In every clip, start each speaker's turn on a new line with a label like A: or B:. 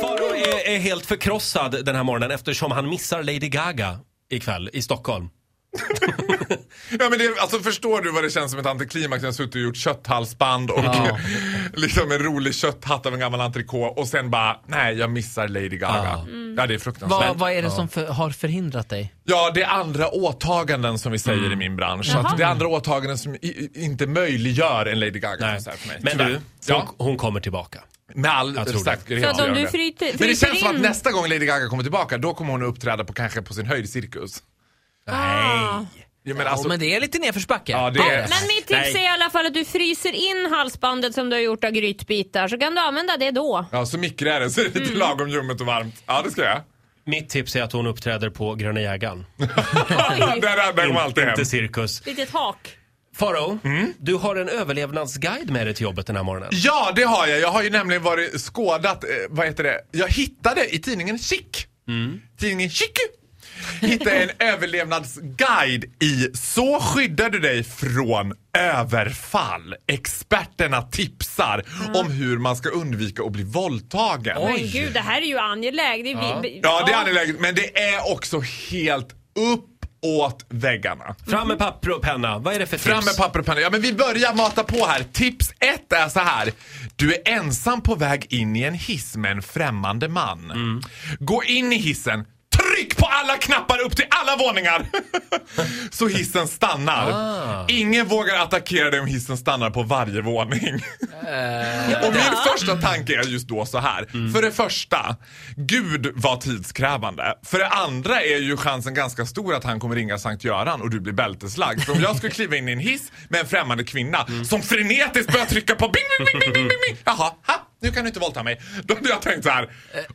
A: Farao är, är helt förkrossad den här morgonen eftersom han missar Lady Gaga ikväll i Stockholm.
B: Ja, men det, alltså, förstår du vad det känns som ett antiklimax? Jag har suttit och gjort kötthalsband och
A: Ja.
B: liksom en rolig kötthatt av en gammal entrecote och sen bara, nej jag missar Lady Gaga. Mm. Ja, det är fruktansvärt.
C: Vad, vad är det som för, har förhindrat dig?
B: Ja, det är andra åtaganden som vi säger i min bransch. Så att det är andra åtaganden som i, i, inte möjliggör en Lady Gaga konsert för mig.
A: Men
B: Tyvärr.
A: du, hon,
B: ja,
A: hon kommer tillbaka.
B: med all
A: tror det.
B: säkerhet
D: Så att
B: gör
D: om du
B: det.
D: fryter-
B: Men det
D: fryser
B: känns som att
D: in-
B: nästa gång Lady Gaga kommer tillbaka, då kommer hon att uppträda på kanske på sin höjd cirkus.
A: Nej.
B: Ja, men
C: Alltså,
B: alltså,
C: men det är lite nedförsbacke.
B: ja, det är...
D: Men mitt tips
A: Nej.
D: är i alla fall att du fryser in halsbandet som du har gjort av grytbitar så kan du använda det då.
B: Ja, så mikro är det, så det är lite
D: Mm.
B: lagom ljummet och varmt. Ja, det ska jag.
A: Mitt tips är att hon uppträder på Gröna jägaren.
D: Oj,
B: Där, där går alltid
A: Inte,
B: hem. Mm.
A: inte cirkus.
D: litet hak.
A: Farao, du har en överlevnadsguide med dig till jobbet den här morgonen.
B: Ja, det har jag. Jag har ju nämligen varit skådat, eh, vad heter det, jag hittade i tidningen Chic, tidningen Chic, hittade en överlevnadsguide i Så skyddar du dig från överfall. Experterna tipsar om hur man ska undvika att bli våldtagen.
D: Mm. Men gud, det här är ju angeläget. Det är vi- vi-
B: Ja, det är angeläget, men det är också helt uppåt väggarna.
A: Fram med papper och penna, vad är det för tips?
B: Fram med papper och penna. Ja, men vi börjar mata på här. Tips ett är så här. Du är ensam på väg in i en hiss med en främmande man.
A: Mm.
B: Gå in i hissen. Tryck på alla knappar upp till alla våningar! så hissen stannar.
A: Ah.
B: Ingen vågar attackera dig om hissen stannar på varje våning. Och min första tanke är just då så här.
A: Mm.
B: För det första, Gud var tidskrävande. För det andra är ju chansen ganska stor att han kommer ringa Sankt Göran och du blir bälteslagd. För om jag skulle kliva in i en hiss med en främmande kvinna
A: Mm.
B: som frenetiskt börjar trycka på bing, bing, bing, bing, bing, bing, bing. Jaha, ha, nu kan du inte våldta mig. Då hade jag tänkt så här.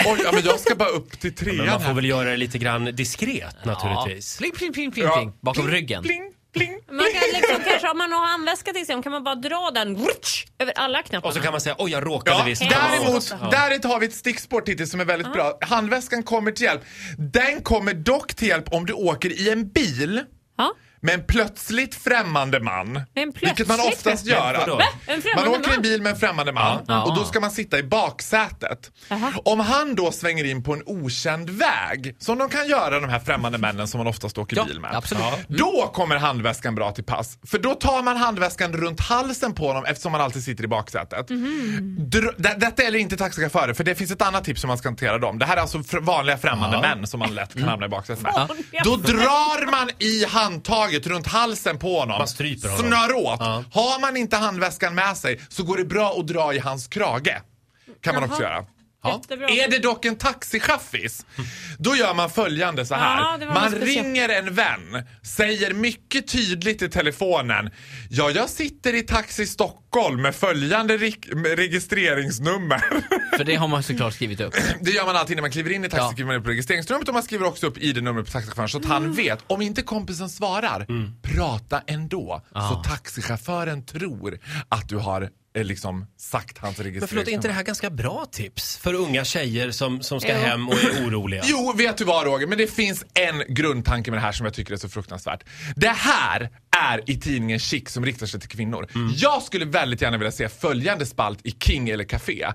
B: Oj, ja, men jag ska bara upp till
A: Men
B: trean
A: man får
B: här.
A: väl göra det lite grann diskret naturligtvis.
C: Pling, pling, pling, pling,
B: Ja,
C: pling. Bakom
B: pling,
C: ryggen.
B: Pling, pling,
D: Man kan liksom, kanske om man har handväska till exempel kan man bara dra den vrutsch, över alla knapparna.
A: Och så kan man säga, oj jag råkade
B: Ja,
A: visst.
B: däremot,
A: Ja.
B: där har vi ett stickspår Titti som är väldigt bra. Handväskan kommer till hjälp. Den kommer dock till hjälp om du åker i en bil
D: Ja.
B: med en plötsligt främmande man.
D: en
B: vilket man
D: plötsligt
B: oftast
A: främmande-
B: gör.
A: Vadå?
B: Att
A: Va?
D: En
B: man
D: främmande
B: åker i en
D: man?
B: bil med en främmande man och då ska man sitta i baksätet.
D: Jaha.
B: Om han då svänger in på en okänd väg, som de kan göra de här främmande männen som man oftast åker
C: Ja,
B: bil med.
C: absolut. Mm.
B: Då kommer handväskan bra till pass. För då tar man handväskan runt halsen på honom eftersom man alltid sitter i baksätet.
D: Mm.
B: Dr- det, detta gäller inte taxichaufförer för det finns ett annat tips hur man ska hantera dem. Det här är alltså fr- vanliga främmande män som man lätt kan hamna i baksätet med.
D: Vanliga
B: Då drar man i handtaget runt halsen på honom.
A: Man stryper honom.
B: Snör åt. Har man inte handväskan med sig så går det bra att dra i hans krage. Kan man också göra. Ja.
D: Jättebra.
B: Är det dock en taxichaffis, då gör man följande så här.
D: Ja, det var
B: man
D: något speciellt.
B: ringer en vän, säger mycket tydligt i telefonen. Ja, jag sitter i Taxi Stockholm med följande rik- med registreringsnummer.
C: För det har man såklart skrivit upp.
B: Det gör man alltid när man kliver in i taxi,
C: Ja.
B: skriver man upp registreringsnumret och man skriver också upp ID-numret på taxichauffören så att han vet. Om inte kompisen svarar, prata ändå. Så taxichauffören tror att du har eh, liksom sagt hans
A: Men förlåt, är inte det
B: registreringsnummer.
A: här ganska bra tips för unga tjejer som, som ska
D: Jo.
A: hem och är oroliga?
B: Jo, vet du vad Roger? Men det finns en grundtanke med det här som jag tycker är så fruktansvärt. Det här är i tidningen Chic som riktar sig till kvinnor. Jag skulle väldigt gärna vilja se följande spalt i King eller Café.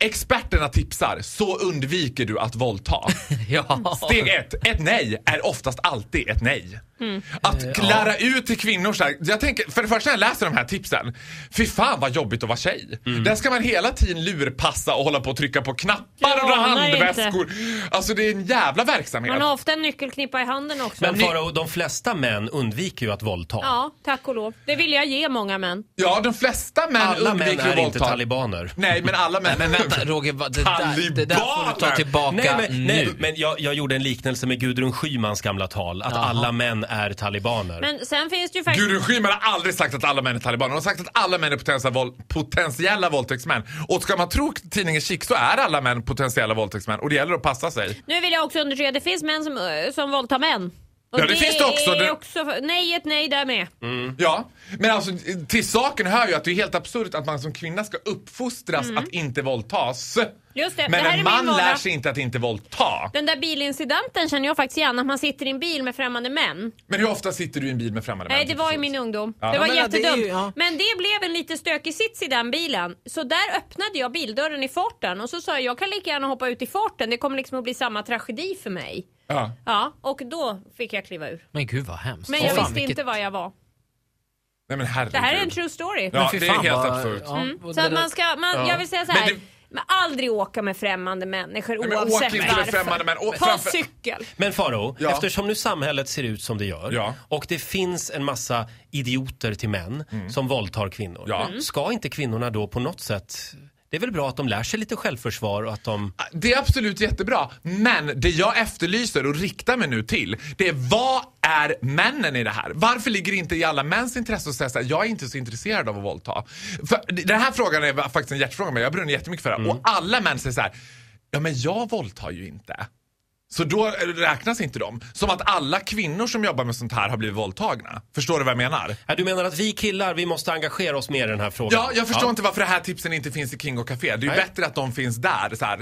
B: Experterna tipsar, så undviker du att våldta.
C: Ja.
B: Steg ett, ett nej är oftast alltid ett nej.
D: Mm. Eh,
B: Att klara ut till kvinnor så här, jag tänker, för det första när jag läser de här tipsen, fy fan vad jobbigt att vara tjej.
A: Mm.
B: Där ska man hela tiden lurpassa och hålla på och trycka på knappar och dra
D: Ja, nej, inte.
B: handväskor. Alltså det är en jävla verksamhet.
D: Man har ofta en nyckelknippa i handen också.
A: Men Farao, de flesta män undviker ju att våldta.
D: Ja, Ja, tack och lov. Det vill jag ge många män.
B: Ja, de flesta män
A: Alla män
B: undviker
A: är inte
B: våldta.
A: talibaner.
B: Nej, men alla män.
C: Men vänta Roger, vad- det där, det där får du ta
B: Talibaner!
C: tillbaka
A: Nej, men,
C: nu.
A: nej, men jag, jag gjorde en liknelse med Gudrun Schymans gamla tal. Att alla män är talibaner.
D: Men sen finns det ju faktiskt...
B: Gudrun Schyman har aldrig sagt att alla män är talibaner. Hon har sagt att alla män är potentiella, våld, potentiella våldtäktsmän. Och ska man tro tidningen Chic så är alla män potentiella våldtäktsmän. Och det gäller att passa sig.
D: Nu vill jag också understryka, det finns män som, eh, som våldtar män. Och
B: Ja, det finns det också.
D: Är
B: Det-
D: också nej, ett nej där med.
B: Ja, men alltså till saken hör ju att det är helt absurt att man som kvinna ska uppfostras att inte våldtas.
D: Mm. Just det, det
B: men
D: här är
B: en
D: min
B: man
D: vardag.
B: lär sig inte att inte våldta.
D: Den där bilincidenten känner jag faktiskt igen, att man sitter i en bil med främmande män.
B: Men hur ofta sitter du i en bil med främmande
D: Nej,
B: män?
D: det var i min ungdom.
B: Ja.
D: Det var
B: Ja,
C: men ja, det är
D: jättedumt.
C: ju- ja.
D: Men det blev en lite stökig sits i den bilen. Så där öppnade jag bildörren i farten och så sa jag, jag kan lika gärna hoppa ut i farten. Det kommer liksom att bli samma tragedi för mig.
B: Ja.
D: Ja, och då fick jag kliva ur.
C: Men gud vad hemskt.
D: Men
C: Åh,
D: jag
C: fan,
D: visste
C: vilket-
D: inte vad jag var.
B: Nej men herregud.
D: Det här är en true story.
B: Ja,
C: fy
B: det är
C: fan,
B: helt
C: vad-
B: absurt.
C: ja, och
D: Mm. Så
C: det
D: att
C: där-
D: man ska, man, jag vill säga så
B: Men
D: här.
B: det-
D: Men aldrig åka med främmande människor
B: men åk
D: oavsett
B: inte med
D: varför.
B: främmande män. Och
D: Ta
B: framför-
D: cykel.
A: Men Faro,
B: Ja.
A: eftersom nu samhället ser ut som det gör
B: Ja.
A: och det finns en massa idioter till män som våldtar kvinnor.
B: Mm. Ja. Mm.
A: Ska inte kvinnorna då på något sätt... Det är väl bra att de lär sig lite självförsvar och att de...
B: Det är absolut jättebra, men det jag efterlyser och riktar mig nu till, det är vad är männen i det här? Varför ligger det inte i alla mäns intresse att säga såhär, jag är inte så intresserad av att våldta? För den här frågan är faktiskt en hjärtfråga, men jag brunner jättemycket för den. Och alla män säger så här: ja men jag våldtar ju inte. Så då räknas inte de. Som att alla kvinnor som jobbar med sånt här har blivit våldtagna. Förstår du vad jag menar?
A: Ja, du menar att vi killar, vi måste engagera oss mer i den här frågan?
B: Ja, jag förstår inte varför det här tipsen inte finns i Kingo Café. Det är ju
A: Nej.
B: bättre att de finns där. Så här,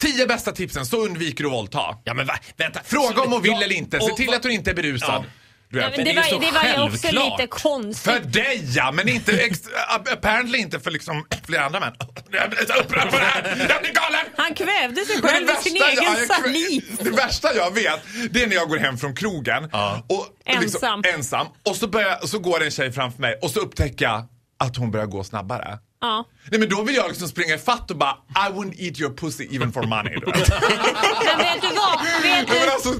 B: tio bästa tipsen, så undviker du våldta.
A: Ja, men va? vänta.
B: Fråga om hon vill
A: Ja,
B: eller inte. Se
A: och
B: till
A: va-
B: att hon inte är berusad.
A: Ja.
B: Du
D: Nej,
B: vet.
D: men
A: det
D: det,
A: är ju så
D: var, det var ju också
A: självklart.
D: lite konstigt.
B: För dig ja, men inte ex- a- apparently inte för liksom flera andra män. Jag blir så upprörd på det här! Jag blir galen!
D: Han kvävde sig
B: Men det
D: själv i sin
B: värsta
D: egen
B: jag- jag-
D: saliv.
B: Det värsta jag vet, det är när jag går hem från krogen. Och liksom
D: Ensam.
B: ensam. Och så, börjar, så går en tjej framför mig och så upptäcker jag att hon börjar gå snabbare.
D: Ja.
B: Nej men då vill jag liksom springa ifatt och bara I wouldn't eat your pussy even for money. du vet.
D: Men vet du vad? Vet
B: Nej,
D: du,
B: men alltså,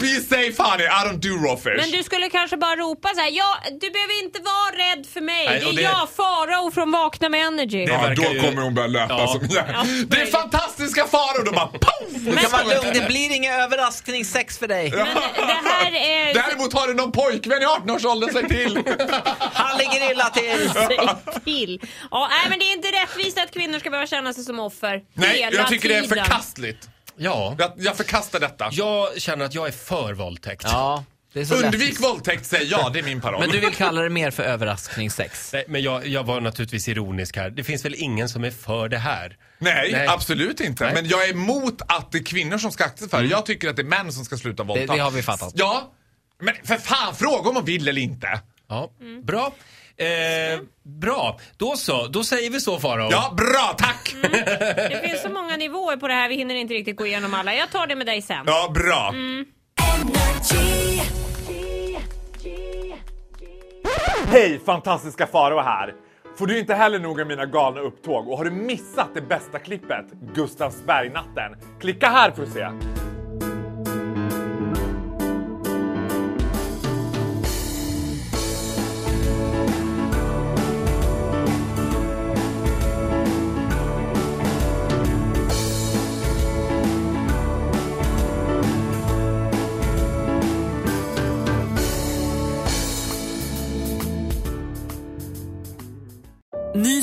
B: be safe honey, I don't do raw fish.
D: men du skulle kanske bara ropa så här. Ja, du behöver inte vara rädd för mig.
A: Nej,
D: det
A: och
D: är
A: det-
D: jag, Farao från Vakna med Energy.
A: Det-
B: Ja,
A: verkar
B: då
A: ju-
B: kommer hon börja löpa
A: Ja.
B: som jag. Det är
D: möjligt.
B: fantastiska faror! Då bara poff!
C: Du
B: Då
C: kan
B: kan man-
C: vara lugn, det blir inga överraskningssex för dig.
D: Men det här är...
B: Däremot har du någon pojkvän i 18-årsåldern, säg till!
C: Han ligger illa till.
D: Säg till. Ja, nej, men det är inte rättvist att kvinnor ska behöva känna sig som offer
B: Nej,
D: hela
B: jag tycker det är
D: tiden.
B: förkastligt.
A: Ja.
B: Jag, jag förkastar detta.
A: Jag känner att jag är för våldtäkt.
C: Ja, det är så lätt.
B: Undvik våldtäkt, säger jag. Det är min paroll.
C: Men du vill kalla det mer för överraskningssex?
A: Nej, men jag, jag var naturligtvis ironisk här. Det finns väl ingen som är för det här?
B: Nej,
A: Nej.
B: absolut inte. Men jag är emot att det är kvinnor som ska akta sig för det. Jag tycker att det är män som ska sluta våldta.
C: det har vi fattat.
B: Ja, men för fan, fråga om man vill eller inte.
A: Ja,
B: Mm.
A: bra. Eh, bra, då så. Då säger vi så Farao.
B: Ja, bra, tack!
D: Det finns så många nivåer på det här, vi hinner inte riktigt gå igenom alla. Jag tar det med dig sen.
B: Ja, bra. Hej, fantastiska Faro här! Får du inte heller nog av mina galna upptåg och har du missat det bästa klippet, Gustavsbergnatten? Klicka här för att se!
E: Ny